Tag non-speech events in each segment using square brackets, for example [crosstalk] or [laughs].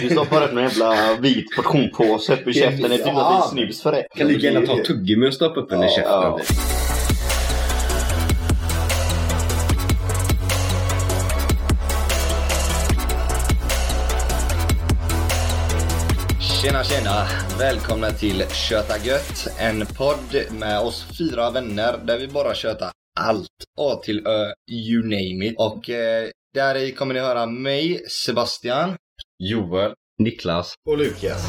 Du stoppar upp en jävla vit portion påse upp i käften. Det är typ att det är snus för det. Kan lika gärna ta tuggummi och stoppa upp den i käften. ja. Tjena tjena! Välkomna till Köta Gött, en podd med oss fyra vänner där vi bara köta allt. A till Ö, you name it. Och eh, där i kommer ni höra mig, Sebastian, Joel, Niklas. [laughs] Och Lukas.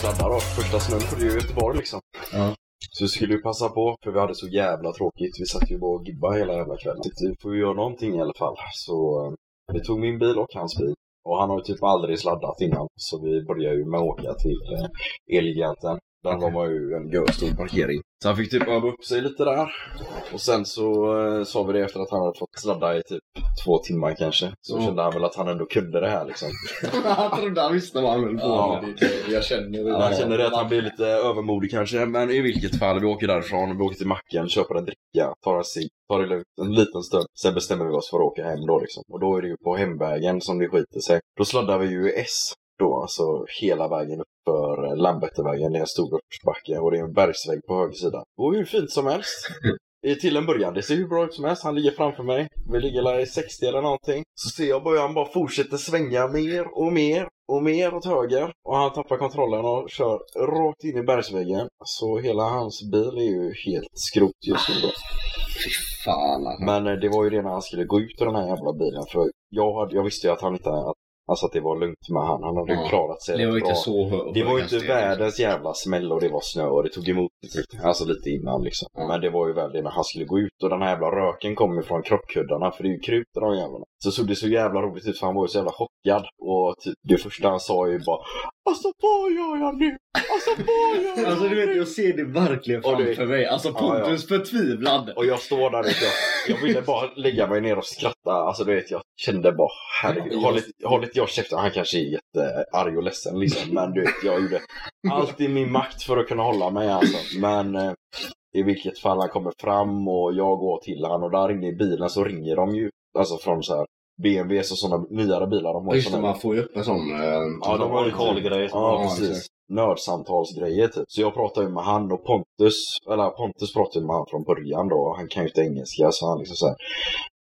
sladdar av typ första snön på det i Göteborg liksom. Ja. Så vi skulle ju passa på, för vi hade så jävla tråkigt. Vi satt ju bara och gibbade hela jävla kvällen. Tänkte, Vi får ju göra någonting i alla fall. Så eh, vi tog min bil och hans bil. Och han har ju typ aldrig sladdat innan, så vi började ju med att åka till eh, Elgiganten. Där var man ju en görstor parkering. Så han fick typ öva upp sig lite där. Och sen så eh, sa vi det efter att han hade fått sladda i typ två timmar kanske. Så Mm. kände han väl att han ändå kunde det här liksom. han trodde han visste vad han höll Ja. med. Jag känner det. Ja, Jag känner det att han blir lite övermodig kanske, men i vilket fall, vi åker därifrån, vi åker till macken, köper en dricka, tar en cigg, tar det lugnt en liten stund. Sen bestämmer vi oss för att åka hem då liksom. Och då är det ju på hemvägen som det skiter sig. Då sladdar vi ju i S då, alltså hela vägen upp för Landvettervägen. Det är en stor uppförsbacke och det är en bergsvägg på höger sida. Det går hur fint som helst. I- Till en början, det ser hur bra ut som helst. Han ligger framför mig. Vi ligger där i 60 eller någonting. Så ser jag bara han bara fortsätter svänga mer och mer och mer åt höger. Och han tappar kontrollen och kör rakt in i bergsväggen. Så hela hans bil är ju helt skrot just nu då. Fy fan alltså. Men eh, det var ju det när han skulle gå ut ur den här jävla bilen. För jag, hade, jag visste ju att han inte, att, alltså att det var lugnt med han. Han hade ju Ja. klarat sig Det var rätt ju inte så hög. det var ju inte världens liksom- jävla smäll och det var snö och det tog emot lite, alltså lite innan liksom. Ja. Men det var ju väl det när han skulle gå ut och den här jävla röken kom ju från kroppkuddarna för det är ju krut i de jävlarna. Så såg det så jävla roligt ut för han var ju så jävla chockad och typ, det första han sa är ju bara Alltså vad gör jag nu? Alltså vad gör [laughs] jag Alltså du vet, nu? jag ser det verkligen Och du- framför mig. Alltså Ja, ja. Pontus förtvivlad. Och jag står där vet jag, jag ville bara lägga mig ner och skratta. Alltså du vet, jag kände bara herregud. Håll inte- Håll inte jag käften, han kanske är jättearg och ledsen liksom. Men du vet, jag gjorde allt i min makt för att kunna hålla mig alltså. Men eh, i vilket fall han kommer fram och jag går till han och där inne i bilen så ringer de ju. Alltså från så här BMWs och sådana nyare bilar. De har ju Just det, såna- man får ju upp en sån... eh, Ja, de har ju kolgrejer. Ja, Ja, precis. exakt. Nördsamtalsgrejer typ. Så jag pratade ju med han och Pontus, eller Pontus pratade ju med han från början då. Han kan ju inte engelska så han liksom såhär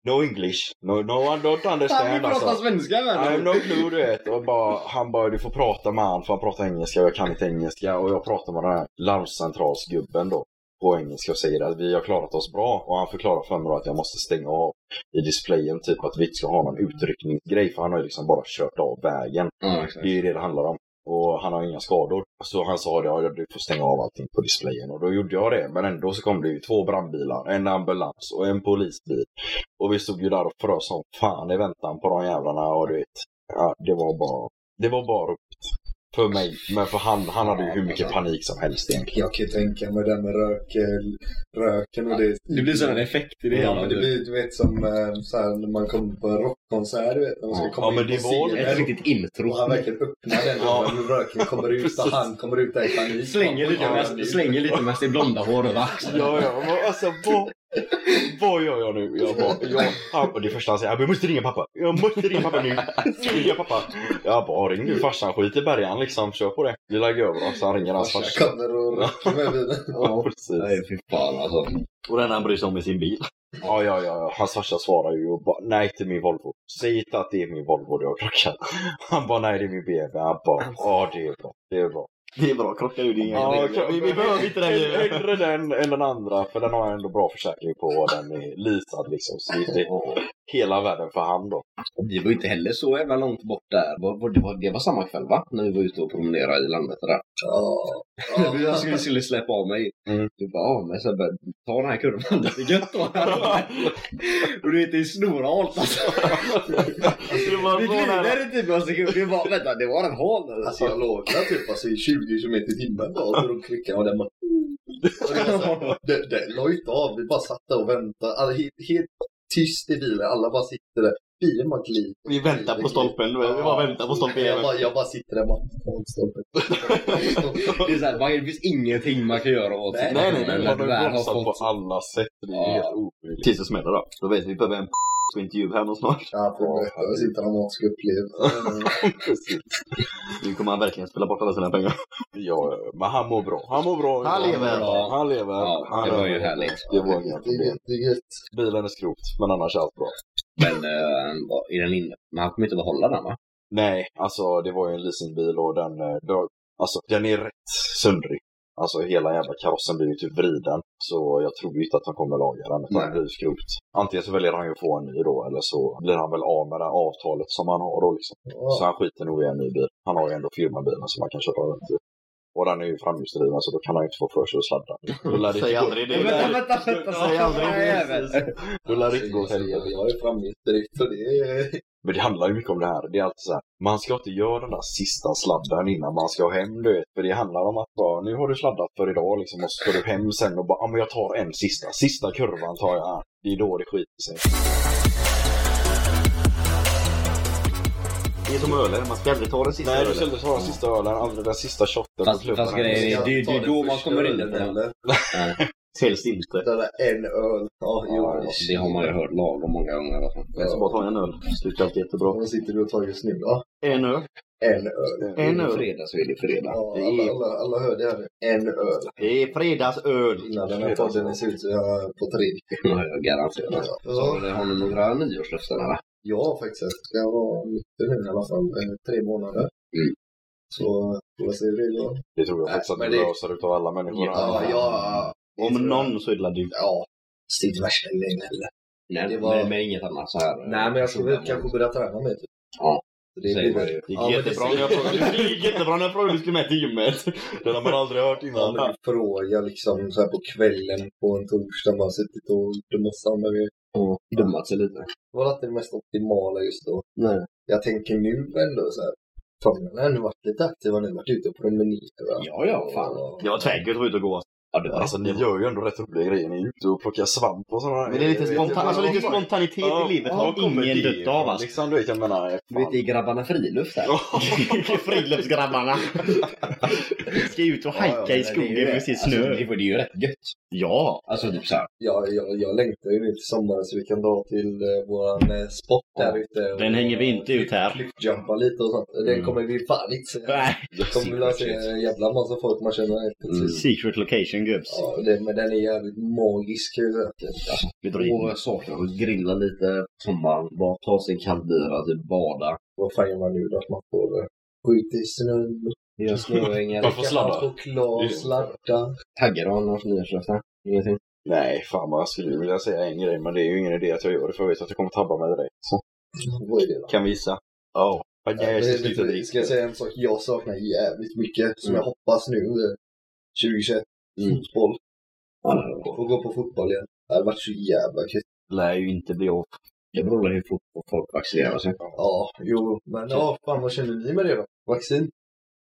No English, no, no one Fan, don't vi understand pratar alltså. svenska I have med no clue du vet. Och bara, han bara du får prata med han för han pratar engelska och jag kan inte engelska. Och jag pratar med den här larmcentralsgubben då på engelska och säger att vi har klarat oss bra. Och han förklarar för mig då att jag måste stänga av i displayen typ att vi inte ska ha någon utryckningsgrej för han har ju liksom bara kört av vägen. Ja, exakt. Det är ju det det handlar om. Och han har inga skador. Så han sa det, ja, du får stänga av allting på displayen. Och då gjorde jag det. Men ändå så kom det ju två brandbilar, en ambulans och en polisbil. Och vi stod ju där och frös som fan i väntan på de jävlarna. Och du vet, ja, det var bara, det var bara roligt. För mig, men för han, han hade ju hur mycket panik som helst egentligen. Jag kan ju tänka mig det där med rök, röken och det. Det blir sån en effekt i det Ja, hela. men det blir du vet som eh, så här, när man kommer på en rockkonsert, du vet, när man ska Ja, komma ja, men in det på var- scenen. Ett riktigt intro. Och han verkligen öppnar den Ja. och röken kommer ut och Precis. han kommer ut där i panik. Slänger lite Ja, mest, slänger lite mest i blonda hår över axeln. Ja, ja, men alltså vad, vad gör jag nu? Jag bara, jag, han, och det första han säger, jag måste ringa pappa. Jag måste ringa pappa nu. Ringa pappa. Jag bara, ring nu farsan, skit i bergan liksom, kör på det. Lilla Gövra, så han ringer hans alltså. farsa. Farsan kommer och röker med bilen. Ja, precis. Nej, fy fan alltså. Och den han bryr sig om i sin bil. Ja, ja, ja, hans farsa svarar ju och bara, nej till min Volvo. Säg inte att det är min Volvo du har krockat. Han bara, nej det är min BMW. Han bara, ja det är bra, det är bra. Det är bra, krockar ju din Ja, klart, Vi behöver inte den Hell- grejen. Hellre den än den andra, för den har jag ändå bra försäkring på och den är leasad liksom. Så det är hela världen för hand då. Vi var ju inte heller så jävla långt bort där. Var- var- Det var, det var samma kväll va? När vi var ute och promenerade i landet där. Ja. Vi skulle, skulle släppa av mig. Mm. Du bara, ja men Sebbe, ta den här kurvan. Det är gött att ha den. Och du vet, det är snorhalt alltså. Vi glider i typ en sekund. Vi bara, vänta, det var en hal. Alltså jag låg där typ alltså, i 20 km i timmen bara och drog kryckan och [laughs] den bara... Och det var så här, Den, den la ju inte av, vi bara satt där och väntade. Alla, helt, helt tyst i bilen, alla bara sitter där. Bilen bara glider. Vi väntar på stolpen. du vet. Vi bara väntar på stolpen Jag igen. bara, jag bara sitter där och bara... "Fan, stolpen." [laughs] Det, är så här, man- det finns ingenting man kan göra åt Nej, situationen Nej, nej, nej. när Man du väl har har bromsat på fått- alla sätt. Det är Ja. Typ- helt omöjligt. Tills det smäller då. Då vet vi, vi behöver en på intervju här någon snart. Ja, får berätta sin traumatiska upplevelse. [laughs] Precis. Nu kommer han verkligen spela bort alla sina pengar. Ja, men han mår bra. Han mår bra. Han lever. Ja, Han lever. Ja, han det var lever. ju härligt. Det var Det inga är problem. gött, det är gött. Bilen är skrot, men annars är allt bra. Men eh, vad- är den inne? Men han kommer inte behålla den va? Nej, alltså det var ju en leasingbil och den, eh, dra- alltså, den är rätt söndrig. Alltså hela jävla karossen blir ju typ vriden. Så jag tror ju inte att han kommer laga den. Utan Nej. den blir ju skrot. Antingen så väljer han ju att få en ny då eller så blir han väl av med det avtalet som han har då liksom. Så han skiter nog i en ny bil. Han har ju ändå firmabilen som han kan köpa runt i. Och den är ju framhjulsdriven så då kan han ju inte få för sig att sladda. Då lär det Säg inte gå- aldrig Då lär det. vänta, Säg aldrig det. Då lär det inte gå åt helvete. Jag är framme direkt och det är... Men det handlar ju mycket om det här. Det är alltid så här. Man ska inte göra den där sista sladden innan man ska hem, du vet. För det handlar om att bara, nu har du sladdat för idag liksom. Och så ska du hem sen och bara, ja men jag tar en sista. Sista kurvan tar jag. Det är då det skiter sig. Det är som ölen, man ska aldrig ta den sista Nej, du ölen. ska aldrig ta den sista ölen, aldrig den sista shotten Fast- på klubben. fast grejen är- Ja, det- det är Ta den då man första kommer in i ölen, det. eller? Helst inte. Den där en öl. Ja, ja, jo. Det har man ju hört lagom många gånger. Alltså. Jag ska bara ta en öl. Det slutar alltid jättebra. Vad sitter du och tar just nu? Ja, En öl. en öl. En Det är öl. Fredag så är det fredag. Ja, Det alla, är- alla, alla hör det här nu. En öl. Det är fredagsöl. Innan den här podden ser ut så är jag på tre. Det har jag garanterat. Så Ja, det har ni några nyårslöften eller? jag har faktiskt ett. Ska jag vara nykter nu i alla fall. eh, Tre månader. Mm. Så får jag se hur det går. Det tror jag Nej, faktiskt att men du det- löser utav alla människor. Ja, ja. Om någon så är det la du. Ja. Det är inte värsta grejen heller. Nej, Det det var- var... men, men inget annat så här. Nej, men jag ska väl kanske börja träna mer. typ. Ja. Det blir Säger man väl... ju. Det gick Ja, men det jättebra när jag frågade. Det gick jättebra när jag frågade om du skulle med till gymmet. Det har man aldrig hört Ja, men innan. du frågar liksom så här på kvällen på en torsdag. Man har suttit och gjort en massa andra grejer. Och dummat sig lite. Det var inte det mest optimala just då. Nej. Jag tänker nu ändå så här. Fan, jag har ändå varit lite aktiv och nu varit ute och promenerat. Ja, ja, fan. Jag var tveklöst ute och gå. Ja, det var Alltså ni gör ju ändå rätt roliga grejer. Ni är ute och plockar svamp och sådana Men det är lite, spontan, alltså lite spontanitet i livet har ingen dött av alltså. Liksom du vet, jag menar. Du vet, det är grabbarna friluft här. Friluftsgrabbarna. Ska ut och hajka i skogen med sin Alltså, snö. det var- det är ju rätt gött. Ja. Alltså typ såhär. Ja, jag, jag längtar ju nu till sommaren så vi kan dra till eh, våran eh, spot där ute. och- Den hänger vi inte ut här. Jumpa lite och sånt. Det Mm. kommer vi fan inte se. Nej. Jag kommer vilja se en jävla massa folk man känner helt plötsligt. Secret location gubbs. Ja, det, men den är jävligt magisk. kan jag säga. Alltså, Vi drar åh, in. jag saknar att grilla lite på sommaren. Bara ta sig en kall bira, typ bada. Vad fan gör man nu då? Att man får eh, gå ut i snön. Göra snöängar. Man får sladda. Choklad, Just det. sladda. Taggar du annars nyårslöften? Ingenting? Nej, fan vad jag skulle vilja säga en grej, men det är ju ingen idé att jag gör det för jag vet att jag kommer tabba mig direkt. Så. Vad är det då? Kan vi gissa? Ja. Men jag Jag är så lite ska jag säga en sak jag saknar jävligt mycket som jag hoppas nu eh, 2021. Mm. Fotboll. Ja, det var Få gå på fotboll igen. Det hade varit så jävla kul. Lär ju inte bli av. Det beror på hur fort folk vaccinerar sig. Ja, jo, men ja, fan vad känner ni med det då? Vaccin?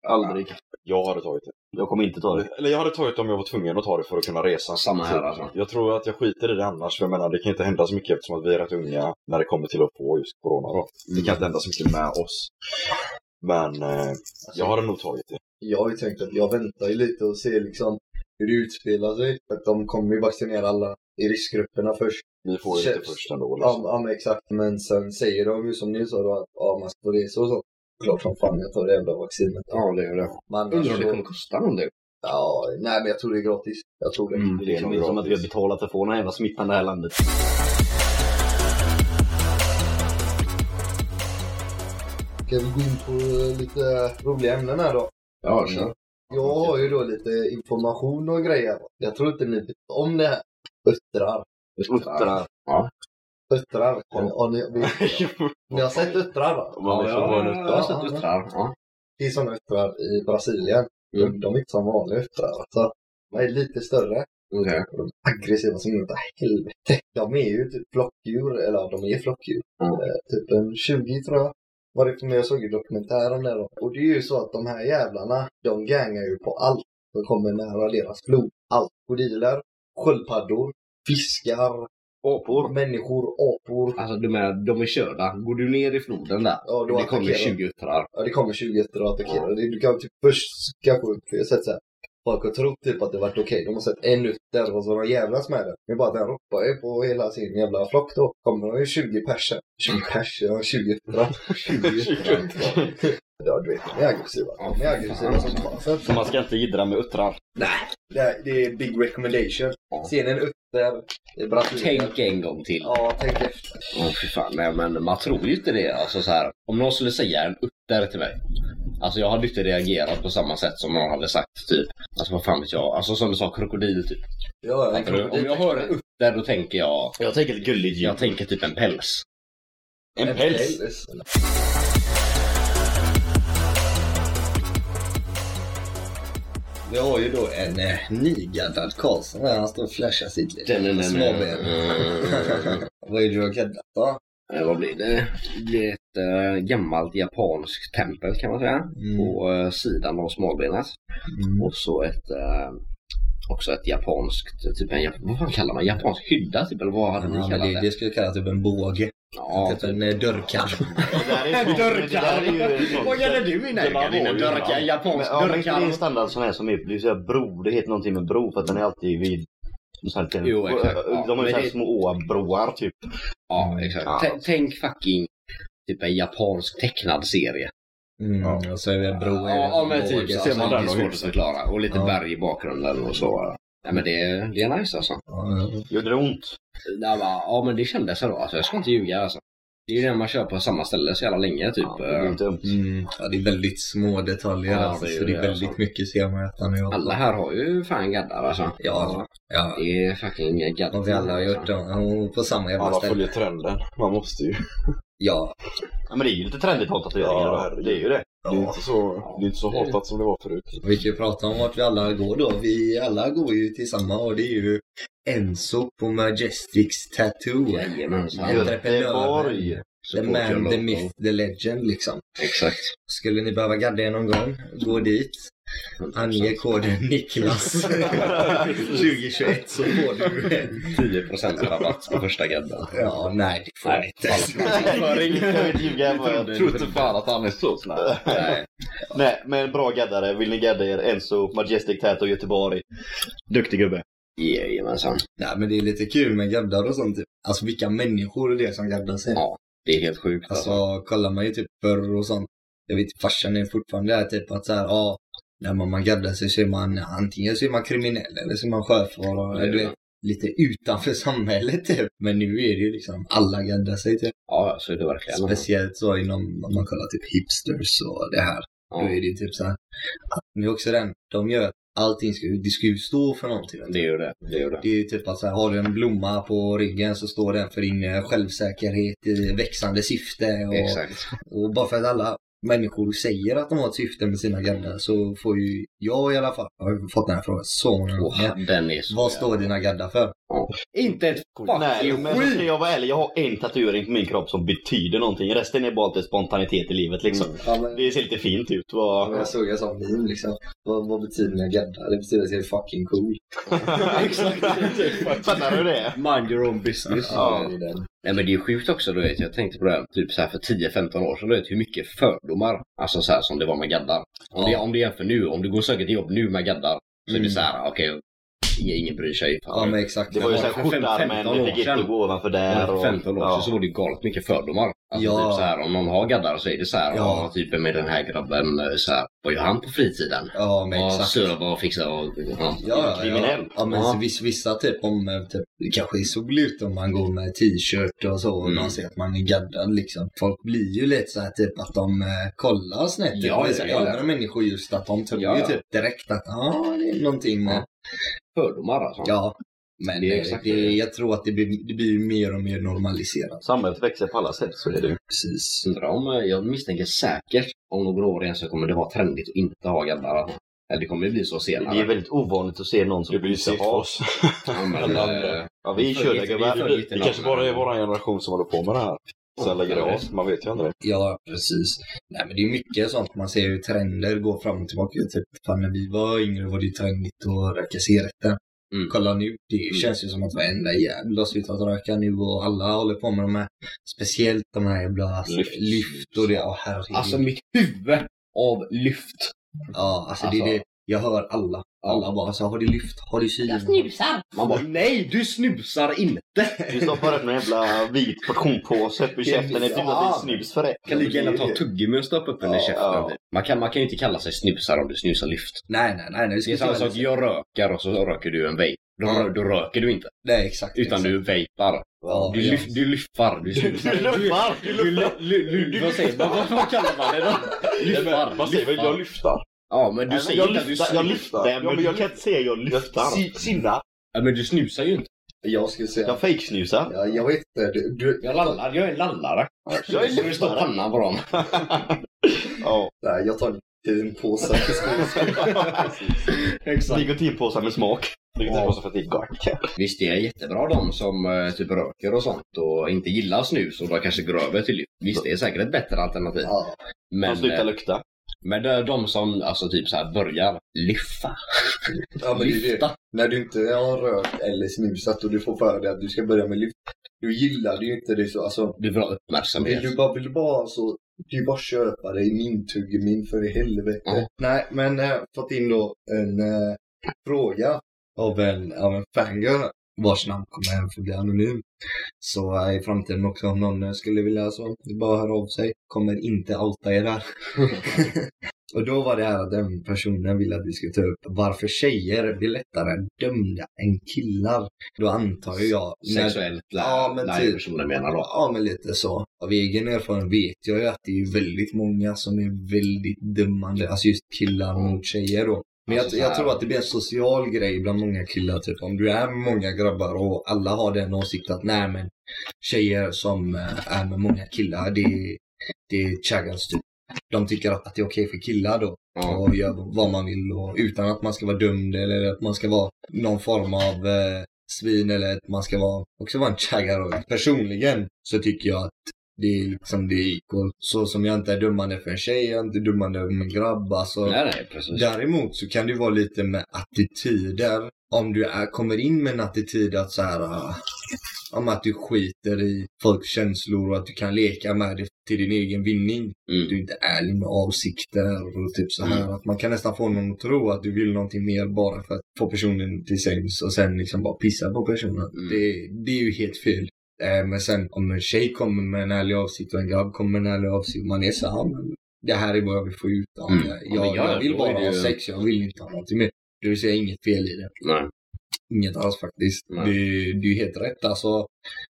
Aldrig. Jag hade tagit det. Jag kommer inte ta det. Eller jag hade tagit det om jag var tvungen att ta det för att kunna resa. Samma här, Typ. alltså. Jag tror att jag skiter i det annars, för jag menar det kan inte hända så mycket eftersom att vi är rätt unga när det kommer till att få just corona då. Det kan inte hända så mycket med oss. Men eh, jag hade nog tagit det. Jag har ju tänkt att jag väntar ju lite och ser liksom hur det utspelar sig. För att de kommer ju vaccinera alla i riskgrupperna först. Vi får ju Känns- inte först ändå. Ja, Liksom. ja men exakt. Men sen säger de ju som ni sa då att ja, man ska få resa och så. Klart som fan jag tar det jävla vaccinet. Ja, det är det. Man, Undrar om det kommer kosta någonting. Ja, nej men jag tror det är gratis. Jag tror det. Mm. Det är liksom inte som att vi har betalat för att få den här jävla smittan i det här landet. Ska vi gå in på eh, lite roliga ämnen här då? Ja, Mm. kör. Jag har ju då lite information och grejer. Jag tror inte ni vet om det här. Uttrar. Uttrar. Uttrar. Har ni, har ni, vet- ni har sett uttrar va? Man vet vad man ja, jag har sett uttrar. Ja. Det är sådana uttrar i Brasilien. Mm. De är inte som vanliga uttrar. Alltså, de är lite större. Okej. Och de är aggressiva som inte helvete. De är ju typ flockdjur, eller ja, de är flockdjur. Mm. Eh, Typ en 20 tror jag. Var det för mig jag såg i dokumentären där då. Och det är ju så att de här jävlarna, de gangar ju på allt som kommer nära deras flod. Allt. Goriller, sköldpaddor, fiskar, Apor. människor, apor. Alltså, de är, de är körda. Går du ner i floden där, Ja, då det kommer attackerar de. 20 uttrar. Ja, det kommer 20 efter att attackera. Du kan typ först kanske, för jag har sett så här, Folk har trott typ att det varit okej. De har sett en ut där och så har de jävlas med det. Men bara den roppar ju på hela sin jävla flock då. Kommer de ju 20 personer. 20 personer, 20 fram. 20 fram. Ja, du vet, de är aggressiva. De är aggressiva som fan. Så att- Så man ska inte jiddra med uttrar. Det, här- det är big recommendation. Ser ni en utter i Brasilien? Tänk en gång till. Ja, tänk efter. Åh fy fan, nej men man tror ju inte det. Alltså så här, om någon skulle säga en utter till mig. Alltså jag hade inte reagerat på samma sätt som någon hade sagt typ. Alltså vad fan vet jag. Alltså som du sa, krokodil typ. Ja, Fattar du? Om jag hör en utter då tänker jag, Jag tänker ett gulligt djur. jag tänker typ en päls. En päls! Vi har ju då en eh, nygaddad Karlsson här. Han står och flashar sitt lilla Den, den, den, småben. Alltså, Mm. Vad är det du har gaddat då? Eh, Vad blir det? Det blir ett eh, gammalt japanskt tempel kan man säga. Mm. På eh, sidan av smalbenet. Och så ett eh, också ett japanskt, typ en, jap- vad fan kallar man japansk hydda typ? Eller vad hade ni Ja, men kallat det, det? det skulle kallas typ en båge. Ja, typ en eh, [laughs] dörrkarm. Det där är sånt- det där är ju sånt- du i Det var vår ju, va? Men, Japansk ja, men inte det är en standard sån här som är, det är så här bro, det heter någonting med bro för att den är alltid vid sån här, Jo, exakt, ja. De har Men ju såhär det- små åbroar typ. Ja, exakt. Ja. Tän- Tänk fucking typ en japansk tecknad serie. Mm. Och så är det en bro. Ja, ja, men typ. Så, Ser man det är den och svårt huset? att förklara. Och lite Ja. berg i bakgrunden och så. Ja, men det, det är nice alltså. Gjorde det ont? Ja, va, ja, men det kändes så. Alltså, jag ska inte ljuga alltså. Det är ju det man kör på samma ställe så jävla länge typ. Ja, det gjorde inte ont. Mm. Ja, det är väldigt små detaljer Ja, alltså. det är ju så det är det, väldigt alltså. mycket ser man att han är Eh, alla här har ju fan gaddar alltså. Ja, ja. Det är fucking gaddar. Och vi alla har gjort det. Och På samma jävla Alla ställe. följer trenden. Man måste ju. Ja. Ja men det är ju lite trendigt att ha tatueringar Ja, då. herregud. Det är ju det. Det är inte så, det är inte så Det är- hatat som det var förut. Vi kan ju prata om vart vi alla går då. Vi alla går ju till samma och det är ju Enzo på Majestics Tattoo. Jajamensan. Göteborg. The man, the myth, the legend liksom. Exakt. Skulle ni behöva gadda er någon gång, gå dit. Ange koden Niklas 2021 så får du 10% rabatt på första gadden. Ja, nej det får du Nej, inte. Jag vet ljuga. vad- Tror inte fan att han är så snäll. Nej. Nej men bra gaddare. Vill ni gadda er? Enzo, Majestic Tattoo Göteborg. Duktig gubbe. Jajamensan. Nej men det är lite kul med gaddar och sånt. typ. Alltså vilka människor det är som gaddar sig. Ja. Det är helt sjukt alltså. Alltså kollar man ju typ förr och sånt. Jag vet farsan är fortfarande där typ att såhär, ja. När man, man gaddar sig så är man antingen så är man kriminell eller så är man sjöfarare. Ja. Du vet, lite utanför [laughs] samhället typ. Men nu är det ju liksom alla gaddar sig typ. Ja, så är det verkligen. Speciellt så inom, om man kollar typ hipsters och det här. Då är Ja, det ju typ såhär. Nu är också den, de gör att allting ska, ju- det ska ju stå för någonting. det är ju det. Det är ju det. Det är ju typ att så här, har du en blomma på ryggen så står den för din eh, självsäkerhet i växande syfte. Och, Exakt. och bara för att alla människor säger att de har ett syfte med sina gaddar så får ju jag i alla fall, jag har ju fått den här frågan så många gånger. Åh, den är så Vad står dina gaddar för? Inte ett Nej fucking men så ska skit! jag vara ärlig. Jag har en tatuering på min kropp som betyder någonting. Resten är bara lite spontanitet i livet liksom. Ja, men, Det ser lite fint ut. Vad... jag såg en sån meme liksom. Vad, vad betyder mina gaddar? Det betyder att jag är fucking cool. [laughs] Exakt. Fattar du det? Mind your own business. Ja. Det är den. Nej men det är sjukt också, du vet, jag tänkte på det här, typ så här för 10-15 år sedan, du vet hur mycket fördomar, alltså så här som det var med gaddar. Om, det, om det jämför nu, om du går och söker till jobb nu med gaddar, så är Mm. det så här, okej, ingen, ingen bryr sig. Ja men exakt. Det var ju Men såhär för fem- skjortärmen, 15 år det fick sedan. inte gå ovanför där. För 15 år sedan så var det ju galet mycket fördomar. Alltså Ja. typ så här, om någon har gaddar så är det så här, Ja. ja. typ med den här grabben, eh, så här, vad gör han på fritiden? Ja men Ja, exakt. serva och fixa och... Ja. Ja, kriminell. Ja, ja men Ja. så Vissa, vissa typ om eh, typ, det kanske är soligt om man går med t-shirt och så och Mm. man ser att man är gaddad liksom. Folk blir ju lite så här typ att de eh, kollar snett. Ja, Ja, ja, ja, ja. Äldre människor just att de tror Ja, ju ja. typ direkt att ah, det är någonting med, Fördomar alltså. ja. Men Det är det exakt det, det. jag tror att det blir, det blir mer och mer normaliserat. Samhället växer på alla sätt så är det ju. Precis. Undrar om, eh, jag misstänker säkert om några år igen så kommer det vara trendigt att inte ha gaddar. alltså. Eller det kommer ju bli så senare. Det är väldigt ovanligt att se någon som Det blir ju inte sitt för har. oss. Ja, men, Alla eh, Ja, vi är Vi körda följer- vi gubbar. följer- Det kanske bara är vår generation som håller på med det här. Sen lägger det av. Man vet ju aldrig. Ja, precis. Nej, men det är mycket sånt man ser hur trender går fram och tillbaka. Typ, fan, när vi var yngre var det ju trendigt att röka cigaretter. Mm. Kolla nu, det känns ju som att varenda jävel har slutat röka nu och alla håller på med de här, speciellt de här jävla lyft, Lyft. och det. Oh, herregud. Alltså mitt huvud av lyft. ja, alltså, alltså- det är det Jag hör alla. Alla bara alltså, så har du lyft, har du kyl? Jag snusar. Man bara nej du snusar inte! Du stoppar upp en jävla vit portionpåse upp i käften. Det är typ att det är snus för det. Kan lika gärna ta tuggummi och stoppa upp den i Ja, käften. ja. typ. Man, kan, man kan ju inte kalla sig snusare om du snusar lyft. Nej, nej, nej. nej. vi ska Det är samma skriva sak, jag rökar och så röker du en vape. Då, Ja. rö- då röker du inte, Nej, exakt. utan exakt. du vapar. Ja, Du, ja. lyf, du lyffar. Du snusar. luffar! Du lu- lu- lu- Vad säger man? Vad- Vad kallar man det då? Lyffar. Vad säger vi? Jag lyftar. Ja, men du säger inte att du lyftar. Jag snusar. lyftar. Nej, men jag kan inte säga jag lyftar. Sinna. Ja, men du snusar ju inte. Jag skulle säga, Jag fejksnusar. ja, jag vet inte. Du, du, Jag lallar. Jag är en lallare. Jag är Så det står pannan på dem. [laughs] nej, jag tar en påse. [laughs] Exakt. Nikotinpåsar med smak. Nikotinpåsar för att det är gott. Visst, det är jättebra de som eh, typ röker och sånt och inte gillar snus och då kanske går över till lyft. Visst, det är säkert ett bättre alternativ. Ja. Men, Man slutar eh, lukta. men det är de som alltså typ så här börjar lyffa. Ja, men det är ju det. Lyfta. När du inte har rökt eller snusat och du får för dig att du ska börja med lyft. Du gillar det ju inte. Det är så, alltså, Du vill ha vill uppmärksamhet. du bara, vill du bara, alltså, du vill bara köpa dig min tuggummin för i helvete. Ja. Nej, men eh, fått in då en eh, fråga av en, av en fangirl vars namn kommer även få bli anonym. Så eh, i framtiden också om någon eh, skulle vilja så, det är bara att höra av sig. Kommer inte outa er [laughs] där. Och då var det här att den personen ville att vi skulle ta upp varför tjejer blir lättare dömda än killar. Då antar ju jag... när- Sexuellt Ja, men live typ. som du menar då. Ja, men lite så. Av egen erfarenhet vet jag ju att det är ju väldigt många som är väldigt dömande, alltså just killar mot tjejer då. Men jag, Alltså så jag här. tror att det blir en social grej bland många killar, typ om du är med många grabbar och alla har den åsikten att nej men tjejer som eh, är med många killar, det, är- det är chaggas typ. De tycker att, att det är okej för killar då Ja. och gör vad man vill och utan att man ska vara dömd eller att man ska vara någon form av eh, svin eller att man ska vara också vara en chaggaroj. Personligen så tycker jag att det är liksom det är equal. Så som jag inte är dömande för en tjej, jag är inte dömande för en grabb. Alltså, Nej, nej, precis. Däremot så kan det ju vara lite med attityder. Om du är, kommer in med en attityd att så här, ah, om att du skiter i folks känslor och att du kan leka med det till din egen vinning. Mm. Du är inte ärlig med avsikter och typ så här. Att man kan nästan få någon att tro att du vill någonting mer bara för att få personen till sängs och sen liksom bara pissa på personen. Mm. Det, det är ju helt fel. Eh, Men sen om en tjej kommer med en ärlig avsikt och en grabb kommer med en ärlig avsikt. Man är så här, "Ja, men det här är vad jag vill få ut av Mm. det. Ja, Jag, men gör jag det, vill då bara är det ha ju- sex, jag vill inte ha någonting mer. Det vill säga inget fel i det. Nej. Inget alls faktiskt. Nej. Det, det är ju helt rätt alltså.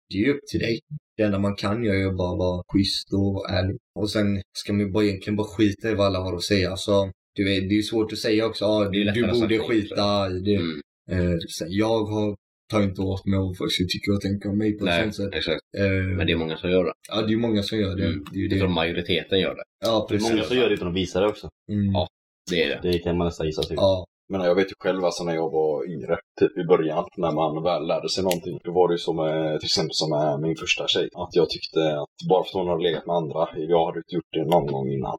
Det är ju upp till dig. Det enda man kan göra är att bara vara schysst och ärlig. Och sen ska man ju bara egentligen bara skita i vad alla har att säga. Alltså, du vet, det är ju svårt att säga också. Ah, Det är lättare du sagt borde än gjort, skita i det. Mm. Eh, sen, jag har, tar inte åt mig vad folk tycker och tänker om mig på ett Nej, sånt sätt. exakt. Eh, Men det är många som gör det. Ja, det är ju många som gör det. Mm. det, är ju Jag tror det. majoriteten gör det. Ja, Det är precis. många som gör det utan att visa det också. Mm. Ja. Det är det. Det kan man nästan gissa sig. Ja. Men jag vet ju själv alltså när jag var yngre, typ i början, när man väl lärde sig någonting. Då var det ju som eh, till exempel som eh, min första tjej. Att jag tyckte att bara för att hon hade legat med andra, jag hade inte gjort det någon gång innan.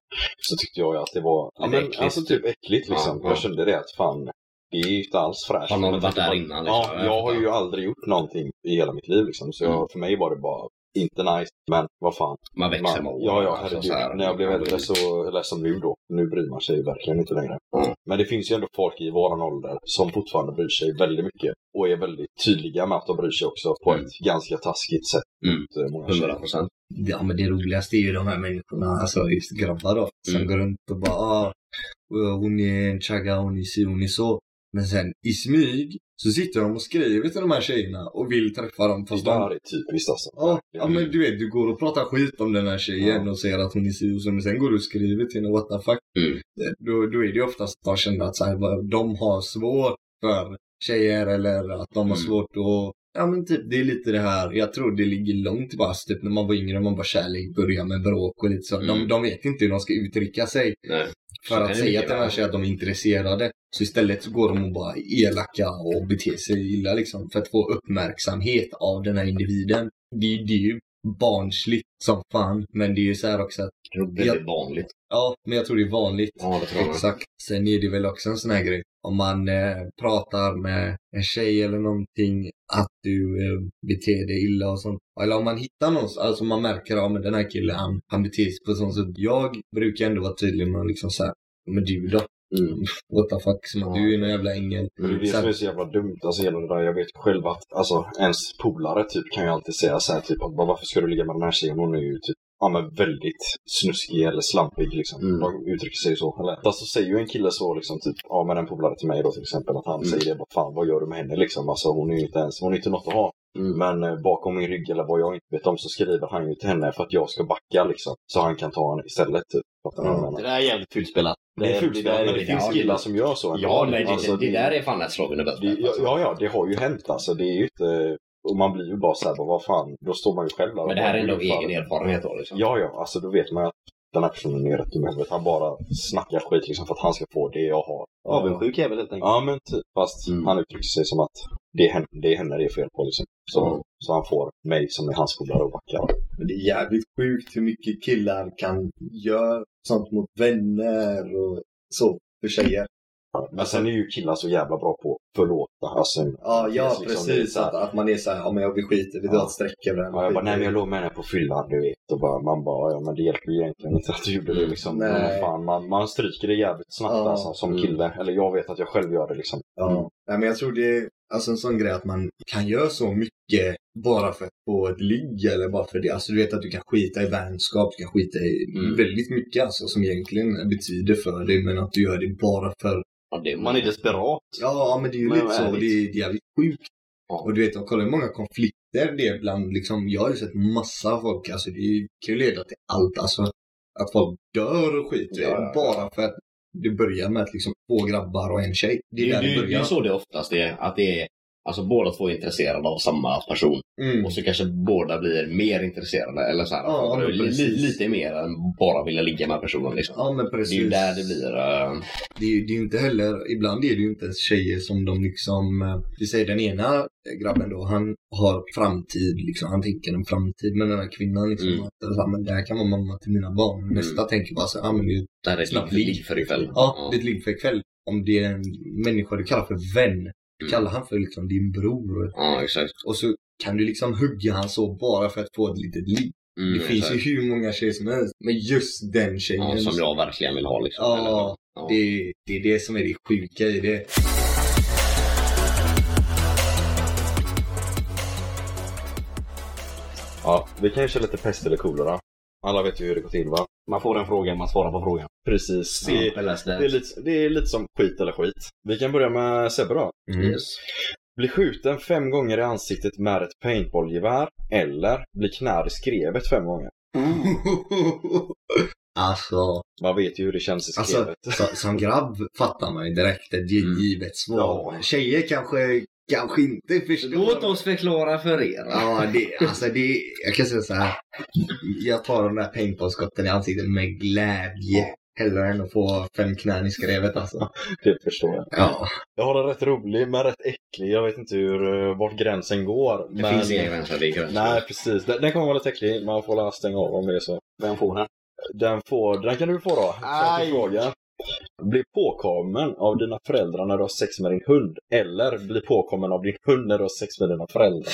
Så tyckte jag ju att det var ja, Lite men, äckligt. Alltså typ äckligt liksom. Ja, ja. Jag kände det att fan, det är ju inte alls fräscht. Har någon Men varit jag där tänkte innan? bara, liksom? Ja, jag har ju aldrig gjort någonting i hela mitt liv liksom. Så jag, Mm. för mig var det bara inte nice, men vad fan. Man växer Man- med Ja, ja, åren, alltså, herregud. så här. När jag blev äldre så, eller som nu då, nu bryr man sig verkligen inte längre. Mm. Men det finns ju ändå folk i våran ålder som fortfarande bryr sig väldigt mycket och är väldigt tydliga med att de bryr sig också på ett ganska taskigt sätt. Mm. mot, eh, många tjejer. 100 procent. ja, men det roligaste är ju de här människorna, alltså just grabbar då, som Mm. går runt och bara ah, hon är en chagga, hon är si, hon är så. Men sen i smyg så sitter de och skriver till de här tjejerna och vill träffa dem fast Det de där är typiskt alltså. Ja, ja men du vet, du går och pratar skit om den här tjejen och säger att hon är si och så, men sen går du och skriver till henne what the fuck. Mm. Eh, Då, då är det ju oftast att de känner att så här, vad- de har svårt för tjejer eller att de har Mm. svårt att Ja men typ det är lite det här, jag tror det ligger långt tillbaka, typ när man var yngre, man bara kärlek börjar med bråk och lite så. De, Mm. de vet inte hur de ska uttrycka sig Nej. Så för kan att det säga mycket till den här väl. tjejen att de är intresserade. Så istället så går de och bara är elaka och beter sig illa liksom för att få uppmärksamhet av den här individen. Det, är- det är ju barnsligt som fan, men det är ju så här också att Det är nog väldigt vanligt. ja, men jag tror det är vanligt. Ja, det tror jag. Exakt. Sen är det väl också en sån här grej. Om man eh, pratar med en tjej eller någonting att du eh, beter dig illa och sånt. Eller om man hittar någon, alltså man märker att men den här killen han, han beter sig på ett sånt sätt. Jag brukar ändå vara tydlig med att liksom så här, men du då? [laughs] What the fuck, som att du är någon jävla ängel. Men Mm. det Mm, är det Så att- som är så jävla dumt. Alltså hela det där, jag vet själv att alltså, ens polare typ kan ju alltid säga så här typ att bara, varför ska du ligga med den här tjejen? Hon är ju typ Ja men väldigt snuskig eller slampig liksom. Mm. De uttrycker sig ju så. Eller alltså säger ju en kille så liksom typ. Ja men en polare till mig då till exempel. Att han Mm. säger det. Vad fan vad gör du med henne liksom? Alltså hon är ju inte ens, hon är inte något att ha. Mm. Men eh, bakom min rygg eller vad jag inte vet om så skriver han ju till henne för att jag ska backa liksom. Så han kan ta henne istället typ. Fattar du vad jag menar? Det där är jävligt fult spelat. Det är fult men det riktigt- finns killar som gör så. ändå. Ja, nej, det, Alltså, det där är fan ett slag under det, bältet. ja, ja, ja, det har ju hänt alltså. Det är ju inte... Och man blir ju bara såhär, vad fan, då står man ju själv där. och Men det här är bara, ändå "Hur fan?" egen erfarenhet då liksom. Ja, ja, alltså då vet man ju att den här personen är rätt dum i huvudet. Han bara snackar skit liksom för att han ska få det jag har. Avundsjuk jävel helt enkelt. Ja, men typ. Fast Mm. han uttrycker sig som att det är henne det, är henne det är fel på liksom. Så, så han får mig som är hans polare och backar. Men det är jävligt sjukt hur mycket killar kan göra sånt mot vänner och så för tjejer. Men sen är ju killar så jävla bra på att förlåta. Alltså, Ja, det ja är liksom- det är precis. så här- Att, att man är så här, ja men jag vi skiter vi drar Ja. ett streck över det här. Ja, jag bara, nej men jag Skiter låg med henne på fyllan, du vet. Och bara, man bara, ja men det hjälper ju egentligen inte att du gjorde det liksom. Nej. Men fan, man, man stryker det jävligt snabbt Ja. alltså, som kille. Eller jag vet att jag själv gör det liksom. Ja. Nej, men jag tror det är alltså, en sån grej att man kan göra så mycket bara för att få ett ligg eller bara för det. Alltså du vet att du kan skita i vänskap, du kan skita i Mm. väldigt mycket alltså som egentligen betyder för dig men att du gör det bara för Ja, det är Man är desperat. Ja, men det är ju Men lite vad så. är det? Det är jävligt sjukt. Och du vet, jag kollar hur många konflikter det är bland, liksom, jag har ju sett massa folk, alltså det kan ju leda till allt, alltså att folk dör och skit, Ja, ja, ja. bara för att det börjar med att liksom två grabbar och en tjej. Det Det, är det, där det det, är börjar. ju så det oftast är. Att det är alltså, båda två är intresserade av samma person. Mm. Och så kanske båda blir mer intresserade. Eller så här, Ja, att man men li, precis. li, lite mer än bara vilja ligga med personen. Liksom. Ja, men det precis. är ju där det blir. eh, Det är ju det är ju inte heller, ibland är det ju inte ens tjejer som de liksom, eh, vi säger den ena grabben då, han har framtid liksom, han tänker en framtid. Men den här kvinnan liksom, Mm. att, eh, men det här kan vara mamma till mina barn. Nästa tänker bara så här, ah, men det är ju där det är Snabbt snabbt ligg för ikväll. Ja, det är ett ligg för ikväll. Om det är en människa du kallar för vän, du Mm. kallar han för liksom din bror. ja, exakt. Och så kan du liksom hugga han så bara för att få ett litet ligg. Mm, det finns exakt. ju hur många tjejer som helst. Men just den tjejen. ja, som jag verkligen vill ha. Liksom. Ja, Eller så. ja. Det, är- det är det som är det sjuka i det. Ja, vi kan ju köra lite pest eller kolera. Alla vet ju hur det går till va? Man får en fråga, man svarar på frågan. Precis. Det, Ja, eller så där. det, är, lite, det är lite som skit eller skit. Vi kan börja med Sebbe då. Yes. Bli skjuten fem gånger i ansiktet med ett paintballgevär. Eller bli knäd i skrevet fem gånger. [laughs] alltså, Man vet ju hur det känns i Alltså, skrevet. [laughs] så, som grabb fattar man ju direkt att det är ett givet svar. Ja. Tjejer kanske, kanske inte förstår. Låt oss förklara för er. Ja, det, alltså det, jag kan säga så här. Jag tar de där paintballskotten i ansiktet med glädje. Hellre än att få fem knän i skrevet alltså. Det förstår jag. Ja. Jag har en rätt rolig men rätt äcklig. Jag vet inte hur, eh, vart gränsen går. Det men... finns inga gränser. Det är gränser. Nej, precis. Den, den kommer vara lite äcklig. Man får la stänga av om det är så. Vem får den? Den, får, den kan du få då. Aj! Fråga. Bli påkommen av dina föräldrar när du har sex med din hund. Eller bli påkommen av din hund när du har sex med dina föräldrar.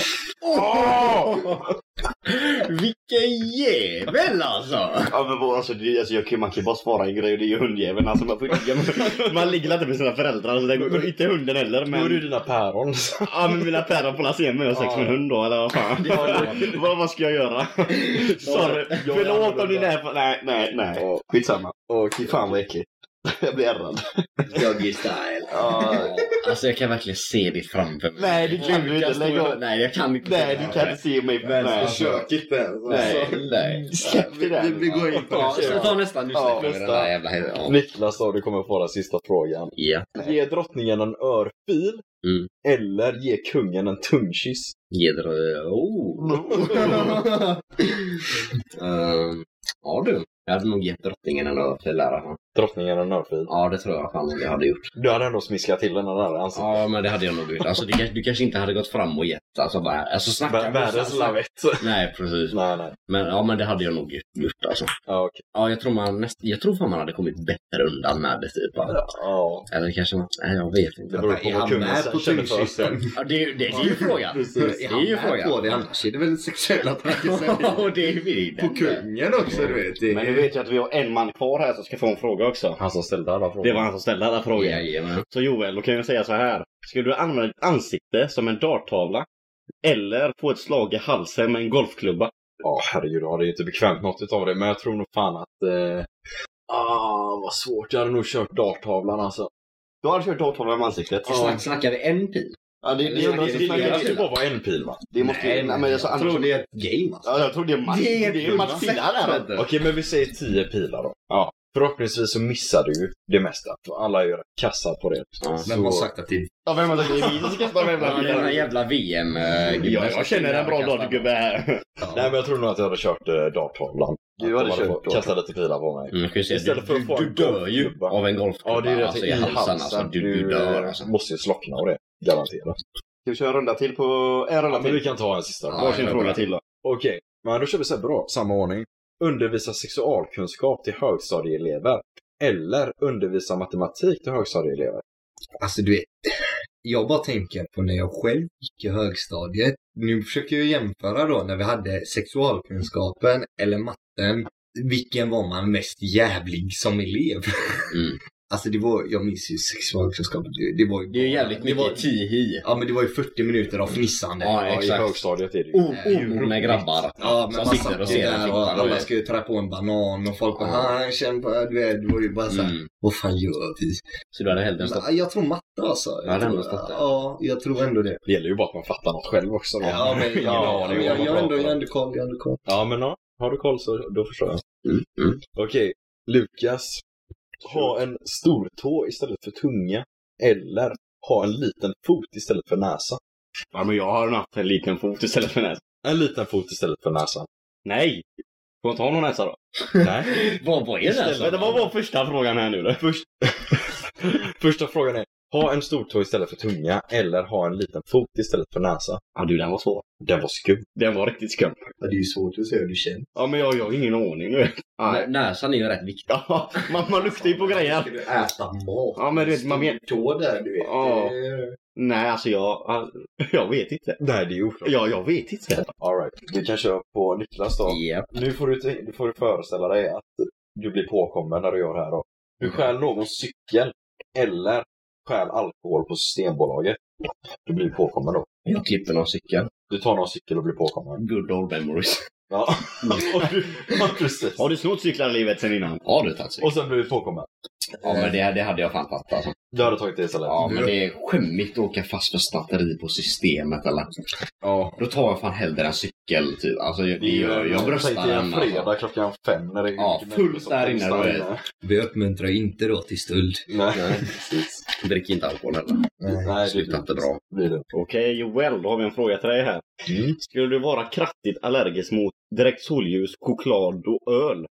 Vilken jävel alltså! Ja, men vad, alltså, det, alltså, jag, kan- man kan ju bara svara en grej och det är ju hundjäveln. Alltså, man, får ju ligga med, [laughs] man ligger inte med sina föräldrar, så det går inte hunden heller. Då är det ju Men, dina päron. [laughs] ja, men mina päron får se mig och sex med en hund då, eller vad fan. [laughs] vad, vad ska jag [laughs] göra? Sorry. Jag är Förlåt om det annorlunda. är för... Nej, nej, nej. Ja. Skitsamma. Och fy fan vad äckligt. [laughs] Jag blir ärrad. Doggy style. Ja. Alltså jag kan verkligen se det framför mig. Nej, det kan du inte. Lägg av. Nej, jag kan inte. Nej, du kan inte se mig. Nej. alltså. Försök inte ens. Nej. Nej. Släpp det alltså. Vi, vi där. går in på Ja, det. så ta nästan du Ja, släpper den där jävla... Ja. Niklas då, du kommer få den sista frågan. Ja. Ge drottningen en örfil. Mm. Eller ge kungen en tungkyss. Geder... [laughs] Oh. Ehm, Ja du. Jag hade nog gett drottningen en öl till läraren. Drottningen en örfil. Ja, det tror jag fan jag hade gjort. Du hade ändå smiskat till den där i ansiktet. Ja, men det hade jag nog gjort. Alltså, du, kanske- du kanske inte hade gått fram och gett. Alltså, bara, alltså snacka... Vär- Världens lavett. [laughs] Nej, precis. Nej, nej. Men, ja, men det hade jag nog gjort alltså. Ja, okej. Ja, jag tror, man näst, jag tror fan man hade kommit bättre undan med det typ. va? Ja. Eller kanske man... Nej, jag vet inte. Det beror på Är vad han kungen med på känner för. tyngdkyssen? [laughs] Ja, det, är ju- det, det är ju frågan. Precis. Det är ju med på frågan. det? Annars är det väl sexuella trakasserier? Och det är ju på kungen också, du vet. Det Men nu är... vet jag att vi har en man kvar här som ska få en fråga också. Han som ställde alla frågor. Det var han som ställde alla frågor. Jajamän. Så Joel, då kan jag säga så här. Skulle du använda ditt ansikte som en darttavla? Eller få ett slag i halsen med en golfklubba? Ja, herregud. Ja, det är ju inte bekvämt något utav det, men jag tror nog fan att... Eh... Ah, vad svårt. Jag hade nog kört darttavlan alltså. Du har kört darttavlan med ansiktet? Snack, snackar vi en pil? Ja, det, det, Det är det, det, det, ju- Det Jag måste ju skulle- bara vara en pil va? måste ju... Nej, men alltså, jag annars, tror det är ett game alltså. ja, jag tror det är match. Det är ju matchpilar där. Inte. Okej, men vi säger tio pilar då. Ja. Förhoppningsvis så missar du ju det mesta. För alla är ju rätt kassa på det. Vem har sagt att det är Ja, vem har sagt det? Det är vi som kastar med Ja, det är den jävla VM... eh, gubben Ja, som jag känner en bra kastar. dartgubbe här. Nej, men jag tror nog att jag hade kört eh, darttavlan. Du hade Att de kört fått- Kastat lite pilar på mig. Mm, jag kan ju säga, Istället för du, att få du, en dör ju golfklubba. av en golfklubba. Ja, det är det. alltså, i i halsen, alltså. Du, du dör eh, alltså. måste ju slockna av det. Garanterat. Ska vi köra en runda till på... En Ja, runda men vi till? kan ta en sista. Ja, Varsin jag fråga vet. till då. Okej, men då kör vi så här bra. Samma ordning. Undervisa sexualkunskap till högstadieelever. Eller undervisa matematik till högstadieelever. Alltså du vet, [laughs] jag bara tänker på när jag själv gick i högstadiet. Nu försöker jag jämföra då när vi hade sexualkunskapen eller matten. Vilken var man mest jävlig som elev? [laughs] Mm. Alltså det var, jag minns ju sexualkunskapen. Det, det var ju... Det är ju jävligt det var, mycket tihi. Ja men det var ju 40 minuter av fnissande. Eh, Ja, Ja, I exakt. högstadiet är det ju. O- Oron med grabbar. Ja, men Som man sitter och satt ju ser en där flicka. och alla ska ju trä på en banan och folk bara Ja. ah, känn på, du vet, det var ju bara såhär, Mm. vad fan gör vi? Så du hade hellre stått... Ja, Jag tror matte alltså. Ja, det Jag hade tror, ändå stått där. ja, jag tror ändå det. Det gäller ju bara att man fattar något själv också. va? Ja, men ja, Ingen aning ja, jag, om vad jag, man ändå, pratar jag om. ändå koll, jag ändå koll. Ja, men ja. Har du koll så då förstår jag. Mm, mm. Okej, Lukas. Ha en stor tå istället för tunga. Eller ha en liten fot istället för näsa. Ja, men jag har nog haft en liten fot istället för näsa. En liten fot istället [laughs] för näsan. Nej! Får jag inte ha någon näsa då? Nej. Vad var det där? Vänta, vad var första frågan här nu då? Först... Första frågan är. Ha en stor tå istället för tunga. Eller ha en liten fot istället för näsa. Ja du, den var svår. Den var skum. Den var riktigt skum. Ja, det är ju svårt att säga hur det känns. Ja, men jag, jag har ingen aning nu. Nä- Näsan är ju rätt viktig. [laughs] Ja, man, man luktar ju på grejer. Ska du äta mat? Ja, men du vet, man vet... Tå där, du vet. Ja. Det är- Nej, alltså jag... Jag vet inte. Nej, det är oklart. Ja, jag vet inte. Alright, vi kan köra på Niklas då. Japp. Nu får du, tänk- du får du föreställa dig att du blir påkommen när du gör det här då. Du stjäl någons cykel eller stjäl alkohol på Systembolaget. Du blir påkommen då. Jag klippte någon cykel. Du tar någon cykel och blir påkommen. Good old memories. [laughs] Ja, och du, ja precis. Har du snott cyklar i livet sen innan? Har du tagit cykel? Och sen blir du påkommen. Ja men det, det hade jag fan tagit alltså. Du hade tagit det istället. Ja men det är skämmigt att åka fast för snatteri på systemet eller. Ja. Då tar jag fan hellre en cykel typ. Alltså jag, det gör, jag bröstar Tänk dig en den fredag alltså. klockan fem när det är Ja, mycket fullt människor som där inne festar då. inne. Vi uppmuntrar ju inte då till stöld. Nej, precis. Drick inte alkohol heller. Nej, det Slutar inte bra. blir det. Okej, Joel, då har vi en fråga till dig här. Mm. Skulle du vara kraftigt allergisk mot direkt solljus, choklad och öl?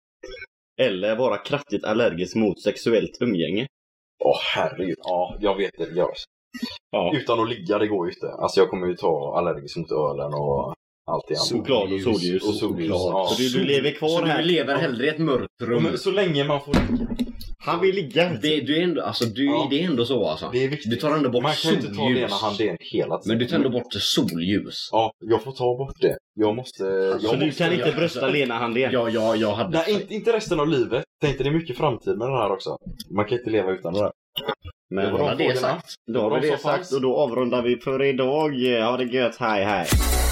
Eller vara kraftigt allergisk mot sexuellt umgänge? Åh herregud, ja jag vet det. Jag... Ja. Utan att ligga, det går ju inte. Alltså jag kommer ju ta allergisk mot ölen och allt det andra. Choklad och solljus. Och solljus. Ja. Så du, du lever Så kvar du här. lever hellre i ett mörkt Ja, rum. men så länge man får Han vill ligga. Det, du är ändå, alltså, du, Ja. det är ändå så alltså. Det är viktigt. Du tar ändå bort man kan ju inte ta det solljus. ena handen hela tiden. Men du tar ändå bort solljus. Ja, jag får ta bort det. Jag måste... Jag Så måste... du kan inte brösta Lena Handén? Ja, ja, jag hade... Nej, inte, inte resten av livet. Tänkte det är mycket framtid med den här också. Man kan inte leva utan det där. Men var det frågorna. sagt. då har vi de det som sagt fanns. och då avrundar vi för idag. Ha det gött, hej hej!